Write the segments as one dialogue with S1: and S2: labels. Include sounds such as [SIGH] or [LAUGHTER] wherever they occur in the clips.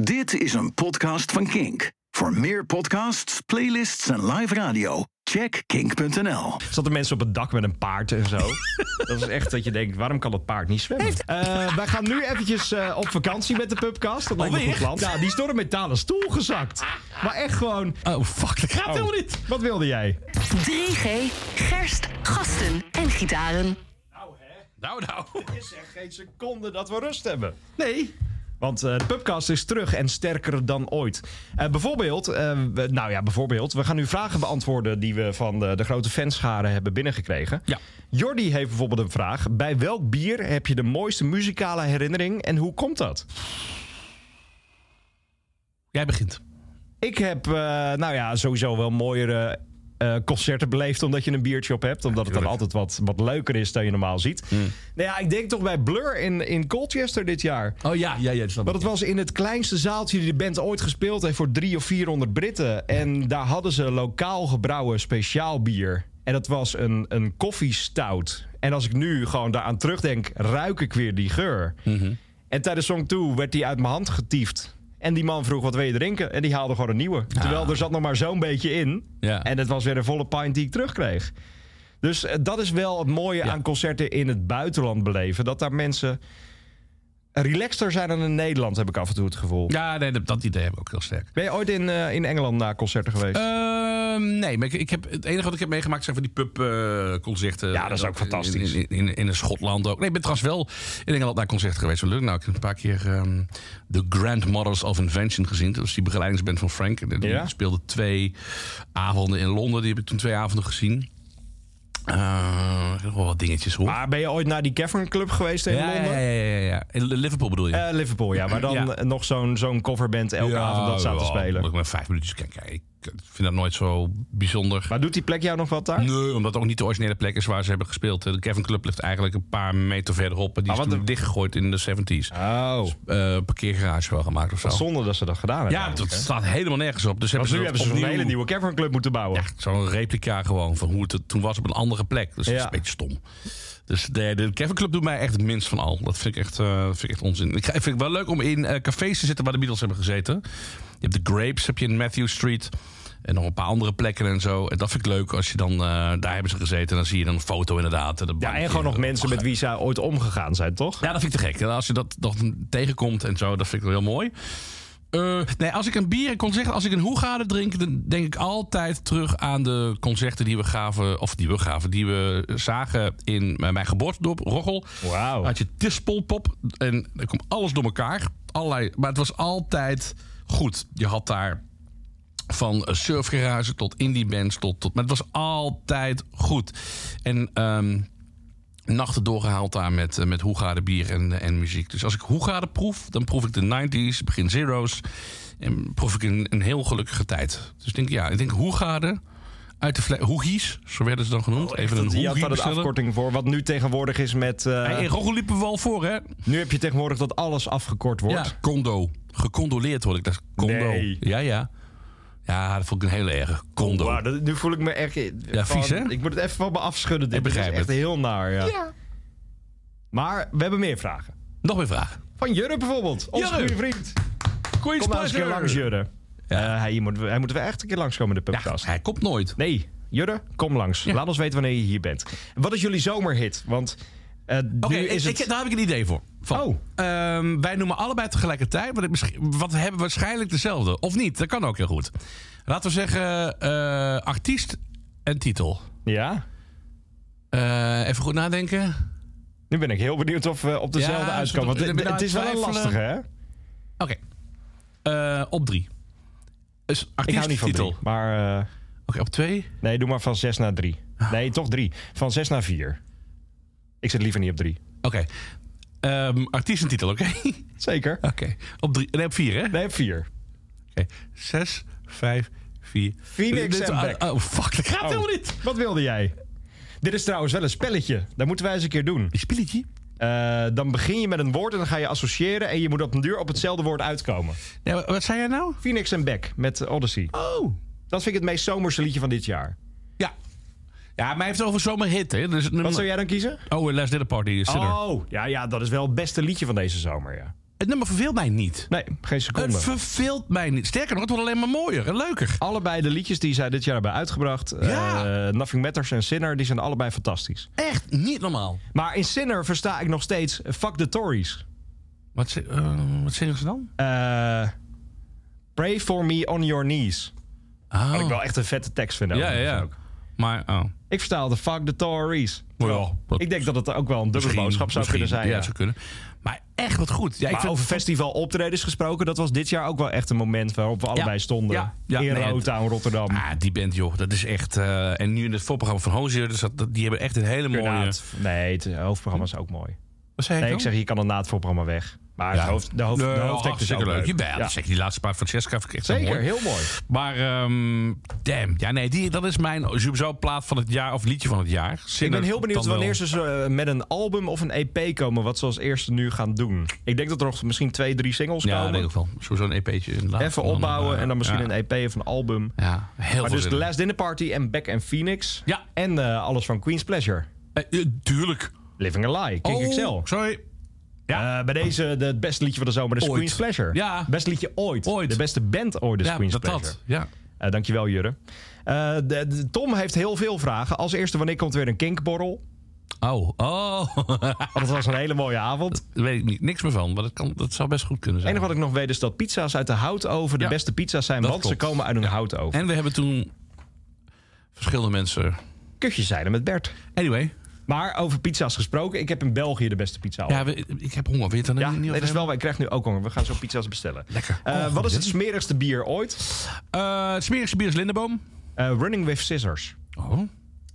S1: Dit is een podcast van Kink. Voor meer podcasts, playlists en live radio, check kink.nl.
S2: Zaten mensen op het dak met een paard en [LAUGHS] zo. dat is echt dat je denkt, waarom kan dat paard niet zwemmen? Eh, wij gaan nu eventjes eh, op vakantie met de pubcast. Dat lijkt me een goed plan. Ja, die is door een metalen stoel gezakt. Maar echt gewoon...
S3: Oh, fuck, dat gaat
S2: Oh,
S3: helemaal niet.
S2: Wat wilde jij?
S4: 3G, gerst, gasten en gitaren.
S3: Nou, nou.
S2: [LAUGHS] is echt geen seconde dat we rust hebben. Nee. Want eh, de podcast is terug en sterker dan ooit. Eh, bijvoorbeeld, eh, we- nou ja, bijvoorbeeld, we gaan nu vragen beantwoorden die we van eh, de, de grote fanscharen hebben binnengekregen.
S3: Ja.
S2: Jordi heeft bijvoorbeeld een vraag. Bij welk bier heb je de mooiste muzikale herinnering en hoe komt dat?
S3: Jij begint.
S2: Ik heb, eh, nou ja, sowieso wel mooiere eh, concerten beleefd omdat je een biertje op hebt. Omdat het dan altijd wat, wat leuker is dan je normaal ziet. Nou ja, ik denk toch bij Blur in, in Colchester dit jaar.
S3: Oh ja, ja, ja. dat snap
S2: Maar
S3: ik.
S2: dat was in het kleinste zaaltje die de band ooit gespeeld heeft voor drie of 400 Britten. En daar hadden ze lokaal gebrouwen speciaal bier. En dat was een, een koffiestout. En als ik nu gewoon daaraan terugdenk, ruik ik weer die geur. En tijdens Song 2 werd die uit mijn hand getiefd. En die man vroeg, wat wil je drinken? En die haalde gewoon een nieuwe. Terwijl er zat nog maar zo'n beetje in.
S3: Ja.
S2: En het was weer een volle pint die ik terugkreeg. Dus eh, dat is wel het mooie aan concerten in het buitenland beleven. Dat daar mensen relaxter zijn dan in Nederland, heb ik af en toe het gevoel.
S3: Ja, nee, dat, dat idee heb ik ook heel sterk.
S2: Ben je ooit in, eh, in Engeland naar concerten geweest?
S3: Ehm, nee, maar ik, ik heb, het enige wat ik heb meegemaakt zijn van die pubconcerten.
S2: Ja, dat is ook fantastisch.
S3: In, in, in, in Schotland ook. Nee, ik ben trouwens wel in Engeland naar concerten geweest. Wel leuk. Nou, ik heb een paar keer ehm, The Grandmothers of Invention gezien. Dat is die begeleidingsband van Frank. En Die
S2: Ja?
S3: speelde twee avonden in Londen. Die heb ik toen twee avonden gezien. Eh, nog wel wat dingetjes hoor.
S2: maar ben je ooit naar die Cavern Club geweest Ah, in
S3: ja, ja,
S2: Londen?
S3: ja, ja, ja. In Liverpool bedoel je?
S2: Eh, Liverpool, ja. Maar dan eh,
S3: Ja.
S2: nog zo'n zo'n coverband elke
S3: Ja,
S2: avond dat staat te
S3: wel, Moet
S2: spelen.
S3: ik maar vijf minuutjes kijken. Ik eh, vind dat nooit zo bijzonder.
S2: Maar doet die plek jou nog wat daar?
S3: Nee, omdat het ook niet de originele plek is waar ze hebben gespeeld. De Kevin Club ligt eigenlijk een paar meter verderop. En die
S2: Ah,
S3: is
S2: wat
S3: toen
S2: een-
S3: dichtgegooid in de 70s. Eh
S2: Oh,
S3: parkeergarage wel gemaakt of zo.
S2: zonde dat ze dat gedaan hebben.
S3: ja, dat
S2: eigenlijk, hè?
S3: staat helemaal nergens op. Dus hebben
S2: Want
S3: ze
S2: nu hebben
S3: dat
S2: ze zo'n
S3: opnieuw-
S2: hele nieuwe Cavern Club moeten bouwen.
S3: Ja, zo'n replica gewoon van hoe het er toen was op een andere plek. Dus dat is
S2: Ja.
S3: een beetje stom. Dus de, de Kevin Club doet mij echt het minst van al. Dat vind ik echt, eh, vind ik echt onzin. Ik ga- vind het wel leuk om in eh, cafés te zitten waar de Beatles hebben gezeten. Je hebt de Grapes, heb je in Matthew Street. En nog een paar andere plekken en zo. En dat vind ik leuk als je dan... eh, daar hebben ze gezeten en dan zie je dan een foto inderdaad. En, dat
S2: Ja,
S3: bankje.
S2: en gewoon nog mensen met wie ze ooit omgegaan zijn, toch?
S3: Ja, dat vind ik te gek. En als je dat nog tegenkomt en zo, dat vind ik wel heel mooi. Eh, nee, als ik een bier kon zeggen, als ik een hoegade drink, dan denk ik altijd terug aan de concerten die we gaven, of die we gaven, die we zagen in mijn mijn geboortedorp, Roggel.
S2: Wauw.
S3: Had je Tispelpop en er kwam alles door elkaar. Allerlei, maar het was altijd goed. Je had daar van eh, surfgarage tot indie bands tot, tot. Maar het was altijd goed. En ehm, nachten doorgehaald daar met, eh, met hoegade bier en, eh, en muziek. Dus als ik hoegade proef, dan proef ik de 90s, begin zeros. En proef ik een, een heel gelukkige tijd. Dus ik denk, ja, ik denk hoegade uit de fle- hoegies, zo werden ze dan genoemd. Even een
S2: Je Oh, had
S3: hoegie
S2: daar een
S3: bestellen.
S2: afkorting voor, wat nu tegenwoordig is met... eh,
S3: Hey, in Roggel liepen we al voor, hè?
S2: nu heb je tegenwoordig dat alles afgekort wordt.
S3: Ja, condo. Gecondoleerd word ik. Dat is condo.
S2: Nee. Oh,
S3: Ja, ja. Ja, dat vond ik een hele erg. Condo.
S2: Wauw, dat- nu voel ik me echt...
S3: Ja, vies,
S2: gewoon-
S3: hè?
S2: Ik moet het even van me afschudden. Dit
S3: Ik begrijp
S2: is echt
S3: het.
S2: heel naar, ja. Maar we hebben meer vragen.
S3: Nog meer vragen.
S2: Van Jurre bijvoorbeeld, onze
S3: Jurre.
S2: goede vriend.
S3: Queen's
S2: Kom nou eens een keer langs, Jurre. Eh, hij, hier moet, hij moet wel echt een keer langskomen in de
S3: Ja,
S2: podcast.
S3: hij komt nooit.
S2: Nee, Jurre, kom langs. Laat ons weten wanneer je hier bent. Wat is jullie zomerhit? Want eh
S3: Oké,
S2: nu is
S3: ik-
S2: het...
S3: ik- daar heb ik een idee voor. Van.
S2: Oh.
S3: Ehm, wij noemen allebei tegelijkertijd, maar het misschien- wat hebben waarschijnlijk dezelfde. Of niet, dat kan ook heel goed. Laten we zeggen, eh, artiest en titel.
S2: Ja?
S3: Eh, even goed nadenken.
S2: Nu ben ik heel benieuwd of we op dezelfde
S3: Ja,
S2: uitkomen. Want
S3: ik ben
S2: het,
S3: aan
S2: het is wel een
S3: twijfelen.
S2: lastige, hè?
S3: Oké. Eh, op drie. Dus
S2: Ik
S3: artiest,
S2: hou niet van
S3: titel.
S2: drie,
S3: Oké,
S2: maar... eh,
S3: op twee.
S2: Nee, doe maar van 6 naar 3. Nee, toch 3. Van 6 naar 4. Ik zit liever niet op 3.
S3: Oké. Ehm artiest en titel, oké?
S2: [LAUGHS]
S3: oké.
S2: Zeker.
S3: Op drie. Nee, op vier, hè?
S2: Nee, 4.
S3: Oké. Zes, vijf, vier.
S2: Phoenix
S3: Dit-
S2: en Black.
S3: Oh, fuck. Dat gaat helemaal niet.
S2: Wat wilde jij? Dit is trouwens wel een spelletje. Dat moeten wij eens een keer doen.
S3: Een spelletje?
S2: Eh, dan begin je met een woord en dan ga je associëren. En je moet op een duur op hetzelfde woord uitkomen.
S3: Nee, wat- wat zei jij nou?
S2: Phoenix en Beck met Odyssey.
S3: Oh.
S2: Dat vind ik het meest zomerse liedje van dit jaar.
S3: Ja. Ja, maar hij heeft het over zomerhit, hè? Dus het nummer-
S2: Wat zou jij dan kiezen?
S3: Oh, Last Dinner Party, Sinner.
S2: Oh, ja, ja, dat is wel het beste liedje van deze zomer, ja.
S3: Het nummer verveelt mij niet.
S2: Nee, geen seconde.
S3: Het verveelt mij niet. Sterker nog, het wordt alleen maar mooier en leuker.
S2: Allebei de liedjes die zij dit jaar hebben uitgebracht,
S3: Ja.
S2: eh, Nothing Matters en Sinner, die zijn allebei fantastisch.
S3: Echt niet normaal.
S2: Maar in Sinner versta ik nog steeds eh, Fuck the Tories.
S3: Wat, ze- eh, wat zingen ze dan?
S2: Eh, Pray for me on your knees. Wat ik
S3: Oh.
S2: wel echt een vette tekst vind.
S3: Ja, ja,
S2: overigens
S3: ja.
S2: ook.
S3: Maar, oh.
S2: Ik vertaalde Fuck the Tories.
S3: ja, dat-
S2: ik denk dat het ook wel een dubbele
S3: Misschien-
S2: boodschap zou
S3: misschien,
S2: kunnen zijn.
S3: Ja,
S2: ja.
S3: zou kunnen. Maar echt wat goed. Ja, ik
S2: Maar
S3: vind
S2: over festival optredens gesproken, dat was dit jaar ook wel echt een moment waarop we allebei stonden.
S3: ja, ja,
S2: in
S3: nee, het-
S2: Rotown, Rotterdam.
S3: Ah, die band, joh. Dat is echt... eh, en nu in het voorprogramma van Hozier, dus dat, dat- die hebben echt een hele mooie...
S2: Inderdaad. Nee, het hoofdprogramma is ook mooi.
S3: Wat zei
S2: Nee, ik
S3: dan?
S2: zeg, je kan het na het voorprogramma weg. Maar het
S3: Ja.
S2: hoofd, de, hoofd,
S3: Nee,
S2: de hoofdtekst is
S3: hartstikke
S2: ook leuk.
S3: leuk. Jawel,
S2: Ja.
S3: dat zeg je, die laatste paar van Francesca vind ik echt zo
S2: Zeker,
S3: mooi.
S2: heel mooi.
S3: Maar, ehm, damn. Ja, nee, die, dat is mijn sowieso plaat van het jaar of liedje van het jaar.
S2: Ik ben heel benieuwd wanneer
S3: ze
S2: ze zo, eh, met een album of een EP komen, wat ze als eerste nu gaan doen. Ik denk dat er nog misschien twee, drie singles
S3: Ja, in
S2: komen.
S3: ieder geval. Sowieso een E EP'tje. inderdaad.
S2: Even
S3: En dan,
S2: opbouwen
S3: eh,
S2: en dan misschien
S3: ja.
S2: een EP of een album.
S3: Ja, heel
S2: Maar
S3: veel
S2: dus
S3: zin
S2: The
S3: in.
S2: Last Dinner Party en Back and Phoenix.
S3: Ja.
S2: En eh, alles van Queen's Pleasure.
S3: Eh, eh, tuurlijk.
S2: Living a Lie, King
S3: Oh,
S2: XL.
S3: sorry. ja.
S2: Eh, bij deze de- het beste liedje van de zomer, de
S3: Ooit.
S2: Queen's Pleasure.
S3: Ja.
S2: Best liedje ooit.
S3: Ooit.
S2: De beste band ooit, de
S3: Ja,
S2: Queen's
S3: dat
S2: Pleasure.
S3: dat. Ja.
S2: Eh, dankjewel, Jurre. Eh, de- de- Tom heeft heel veel vragen. Als eerste, wanneer komt weer een kinkborrel?
S3: Oh, oh.
S2: Want
S3: [LAUGHS]
S2: het was een hele mooie avond. Het
S3: Daar weet ik niet, niks meer van, maar dat, kan, dat zou best goed kunnen zijn.
S2: enige wat ik nog weet is dat pizza's uit de houtoven de
S3: Ja,
S2: beste pizza's zijn,
S3: dat
S2: want ze
S3: klopt.
S2: komen uit een houtoven.
S3: En we hebben toen verschillende mensen.
S2: Kusjes zeiden met Bert.
S3: Anyway,
S2: Maar over pizza's gesproken, ik heb in België de beste pizza. al.
S3: ja, we- ik heb honger. Weet je het dan
S2: Ja,
S3: niet
S2: nee, dat
S3: over
S2: is
S3: hebben?
S2: wel, ik krijg nu ook honger. We gaan zo pizza's bestellen.
S3: Lekker.
S2: Eh,
S3: Oh, goed,
S2: wat is
S3: hè?
S2: het smerigste bier ooit?
S3: Eh, het smerigste bier is Lindenboom.
S2: Eh, Running with Scissors.
S3: Oh.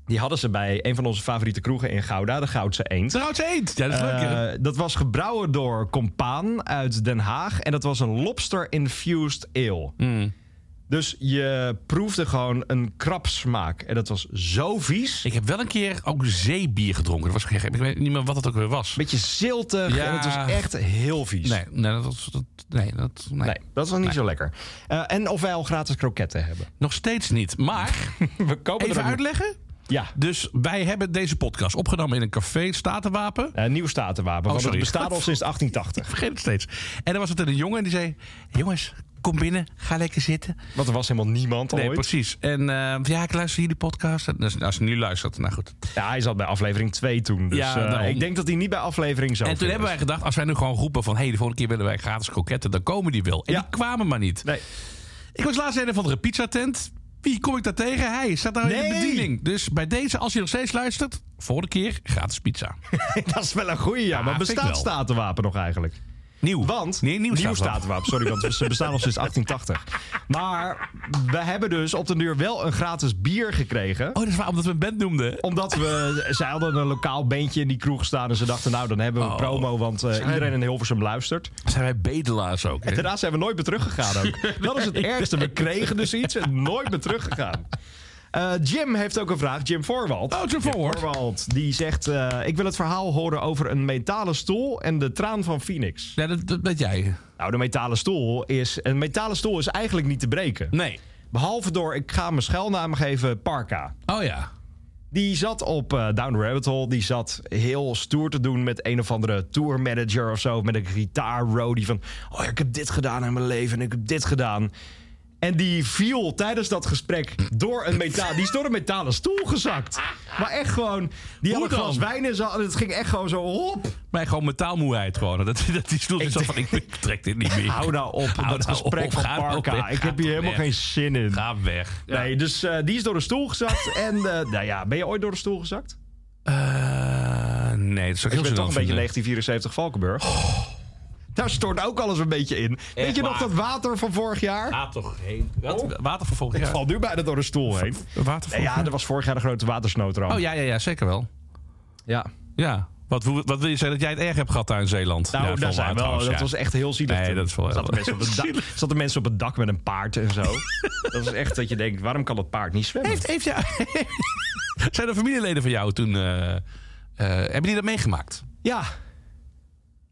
S2: Die hadden ze bij een van onze favoriete kroegen in Gouda, de Goudse Eend.
S3: De Goudse Eend. Ja, dat is leuk. hè?
S2: Eh, dat was gebrouwen door Compaan uit Den Haag. En dat was een lobster-infused ale.
S3: Mm.
S2: Dus je proefde gewoon een krapsmaak. En dat was zo vies.
S3: Ik heb wel een keer ook zeebier gedronken. Dat was, geen- ik weet niet meer wat het ook weer was.
S2: Beetje ziltig.
S3: Ja.
S2: En het was echt heel vies.
S3: Nee, nee, dat, was- dat, nee, dat, nee.
S2: Nee, dat was niet zo lekker. Eh, en of wij al gratis kroketten
S3: [LAUGHS]
S2: hebben.
S3: nog steeds
S2: [LAUGHS]
S3: niet. Maar,
S2: We kopen
S3: even
S2: er ook-
S3: uitleggen.
S2: Ja,
S3: Dus wij hebben deze podcast opgenomen in een café, Statenwapen.
S2: eh, nieuw statenwapen. want
S3: Oh, sorry.
S2: het bestaat al sinds
S3: [LAUGHS]
S2: 1880.
S3: vergeet het steeds. En er was het een jongen en die zei: Jongens, kom binnen, ga lekker zitten.
S2: Want er was helemaal niemand
S3: Nee,
S2: ooit.
S3: precies. En eh, ja, ik luister jullie podcast. En als- Als je nu luistert, nou goed.
S2: Ja, hij zat bij aflevering 2 toen. Dus
S3: Ja,
S2: eh,
S3: daarom.
S2: ik denk dat hij niet bij aflevering zo
S3: En toen
S2: veel
S3: hebben wij
S2: is.
S3: gedacht, als wij nu gewoon roepen van... hé, hey, de volgende keer willen wij gratis kroketten, dan komen die wel. En
S2: Ja.
S3: die kwamen maar niet.
S2: Nee.
S3: Ik was laatst in een of andere pizzatent. Wie kom ik daar tegen? Hij staat daar in de
S2: Nee.
S3: bediening. Dus bij deze, als je nog steeds luistert... volgende keer gratis pizza.
S2: [LAUGHS] Dat is wel een goeie, ja. maar
S3: vind ik
S2: bestaat
S3: wel.
S2: statenwapen nog eigenlijk?
S3: Nieuw.
S2: Want,
S3: Nee, nieuw, staat er.
S2: statenwapen, sorry, want ze bestaan al
S3: [LAUGHS]
S2: sinds 1880. Maar we hebben dus op den duur wel een gratis bier gekregen.
S3: Oh, dat is waar, omdat we een band noemden.
S2: Omdat we, zij hadden een lokaal bandje in die kroeg staan. En ze dachten, nou, dan hebben we een
S3: Oh.
S2: promo, want eh, iedereen in Hilversum luistert.
S3: Zijn wij bedelaars ook. hè?
S2: Daarna zijn we nooit meer teruggegaan
S3: [LAUGHS]
S2: ook. Dat is het ergste. We kregen dus iets en nooit meer teruggegaan. Eh, Jim heeft ook een vraag. Jim Voorwald.
S3: Oh, Jim Voorwald.
S2: Voorwald, Die zegt, eh, ik wil het verhaal horen over een metalen stoel en de traan van Phoenix.
S3: Ja, dat, dat weet jij.
S2: Nou, de metalen stoel is... Een metalen stoel is eigenlijk niet te breken.
S3: Nee.
S2: Behalve door, ik ga mijn schuilnaam geven, Parka.
S3: Oh ja.
S2: Die zat op eh, Down the Rabbit Hole. Die zat heel stoer te doen met een of andere tourmanager of zo. Met een gitaarroadie van... Oh, ik heb dit gedaan in mijn leven en ik heb dit gedaan. En die viel tijdens dat gesprek door een metaal... die is door een metalen stoel gezakt. Maar echt gewoon... Die had
S3: Hoe
S2: een glas
S3: dan?
S2: wijn in zijn hand en Het ging echt gewoon zo op.
S3: Maar gewoon metaalmoeheid gewoon. Dat, dat die stoel is zo van, ik, ik trek dit niet meer.
S2: Hou nou op,
S3: Hou
S2: dat
S3: nou
S2: gesprek
S3: op,
S2: van
S3: ga nou
S2: Parka.
S3: weg,
S2: ik
S3: ga
S2: heb hier
S3: toch
S2: helemaal
S3: weg.
S2: geen zin in.
S3: Ga weg.
S2: Nee, dus eh, die is door de stoel gezakt. en eh, nou ja, ben je ooit door de stoel gezakt?
S3: Eh, nee, dat zou ik
S2: Ik ben
S3: heel
S2: toch een
S3: gênant
S2: beetje
S3: vinden.
S2: 1974 Valkenburg. Daar stort ook alles een beetje in. Weet je nog
S3: waar?
S2: dat water van vorig jaar?
S3: Ga toch heen. Wat? Water voor volgend
S2: Oh. Ik
S3: jaar.
S2: val nu bijna door de stoel heen.
S3: Water voor
S2: Nee, ja, er was vorig jaar de grote watersnoodramp. Nou,
S3: Oh ja, ja, ja, zeker wel.
S2: ja.
S3: Ja. Wat, hoe- wat wil je zeggen dat jij het erg hebt gehad daar in Zeeland?
S2: Nou,
S3: ja,
S2: daar zijn wel. Dat was echt heel zielig.
S3: Nee,
S2: toen.
S3: dat is wel heel-
S2: zaten mensen op het dak, zaten mensen op het dak met een paard en [LAUGHS] zo. dat is echt dat je denkt, waarom kan dat paard niet zwemmen?
S3: Heeft, heeft jou... [LAUGHS] zijn er familieleden van jou toen... eh, eh, hebben die dat meegemaakt?
S2: Ja,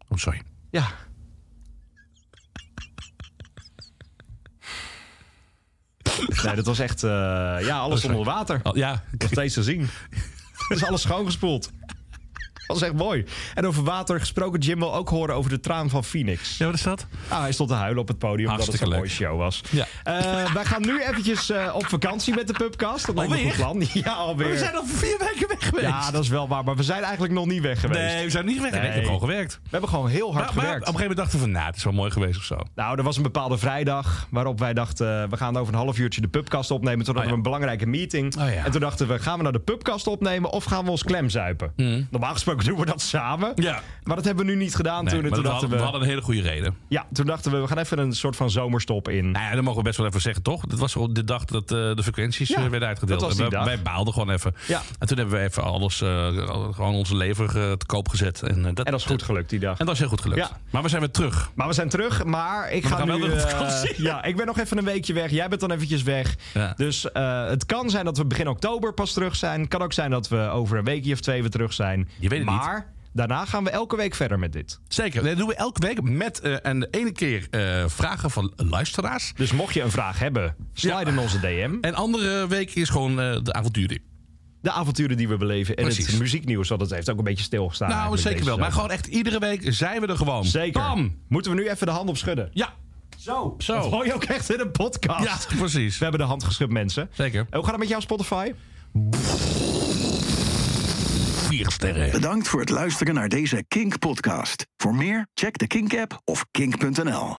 S3: Oh, sorry.
S2: [LAUGHS] ja. Nee, dat was echt, eh, ja, alles onder water.
S3: Oh, ja.
S2: [LAUGHS] Nog steeds te zien. Er is alles schoongespoeld. was echt mooi. En over water gesproken, Jim wil ook horen over de traan van Phoenix.
S3: Ja, wat is dat?
S2: Ah, hij stond te huilen op het podium omdat het
S3: Hartstikke
S2: zo'n mooie
S3: leuk.
S2: show was.
S3: Ja.
S2: Eh, wij gaan nu eventjes eh, op vakantie met de pubcast. Dat lijkt me een goed plan. [LAUGHS] Ja, alweer.
S3: We zijn al vier weken weg geweest.
S2: ja, dat is wel waar. Maar we zijn eigenlijk nog niet weg geweest.
S3: Nee, we zijn niet weg.
S2: Nee.
S3: Ik heb gewoon gewerkt.
S2: We hebben gewoon heel hard
S3: Maar, maar op
S2: gewerkt.
S3: een gegeven moment dachten we van, nou, het is wel mooi geweest of zo.
S2: Nou, er was een bepaalde vrijdag waarop wij dachten... eh, we gaan over een half uurtje de pubcast opnemen. Toen hadden
S3: Oh ja.
S2: we een belangrijke meeting.
S3: Oh ja.
S2: En toen dachten we, gaan we nou de pubcast opnemen... of gaan we ons klemzuipen?
S3: Hmm.
S2: Normaal gesproken [LAUGHS] doen we dat samen.
S3: Ja.
S2: Maar dat hebben we nu niet gedaan.
S3: Nee,
S2: toen, en
S3: maar
S2: toen,
S3: we,
S2: dachten
S3: hadden,
S2: we,
S3: we hadden een hele goede reden.
S2: ja, toen dachten we, we gaan even een soort van zomerstop in.
S3: Nou ja, dat mogen we best wel even zeggen, toch? Dat was op de dag dat eh, de frequenties
S2: Ja,
S3: eh, werden uitgedeeld.
S2: dat was die
S3: En wij,
S2: dag.
S3: wij baalden gewoon even.
S2: Ja.
S3: En toen hebben we even alles, eh, gewoon onze lever eh, te koop gezet. En, eh, dat,
S2: En dat is goed gelukt die dag.
S3: en dat is heel goed gelukt.
S2: Ja.
S3: Maar we zijn weer terug.
S2: Maar we zijn terug, maar ik ga
S3: gaan wel
S2: nu...
S3: weer op
S2: eh,
S3: vakantie.
S2: ja, ik ben nog even een weekje weg. Jij bent dan eventjes weg.
S3: Ja.
S2: Dus eh, het kan zijn dat we begin oktober pas terug zijn. Kan ook zijn dat we over een weekje of twee weer terug zijn.
S3: Je weet het niet.
S2: maar daarna gaan we elke week verder met dit.
S3: Zeker. Dat doen we elke week met eh, en de ene keer eh, vragen van luisteraars.
S2: Dus mocht je een vraag hebben, slide
S3: Ja.
S2: in onze DM.
S3: En andere week is gewoon eh, de
S2: Ah,
S3: avontuur.
S2: De avonturen die we beleven en
S3: Precies.
S2: het muzieknieuws, want dat heeft ook een beetje stilgestaan.
S3: nou,
S2: eigenlijk
S3: zeker
S2: deze
S3: wel. Maar
S2: zomer.
S3: gewoon echt iedere week zijn we er gewoon.
S2: Zeker.
S3: Bam!
S2: Moeten we nu even de hand op schudden?
S3: Ja,
S2: Zo.
S3: Zo.
S2: Dat hoor je ook echt in een podcast.
S3: ja precies.
S2: We hebben de hand geschud, mensen.
S3: Zeker.
S2: En hoe gaat het met jou, Spotify?
S3: Vier sterren.
S1: Bedankt voor het luisteren naar deze Kink-podcast. Voor meer, check de Kink-app of kink.nl.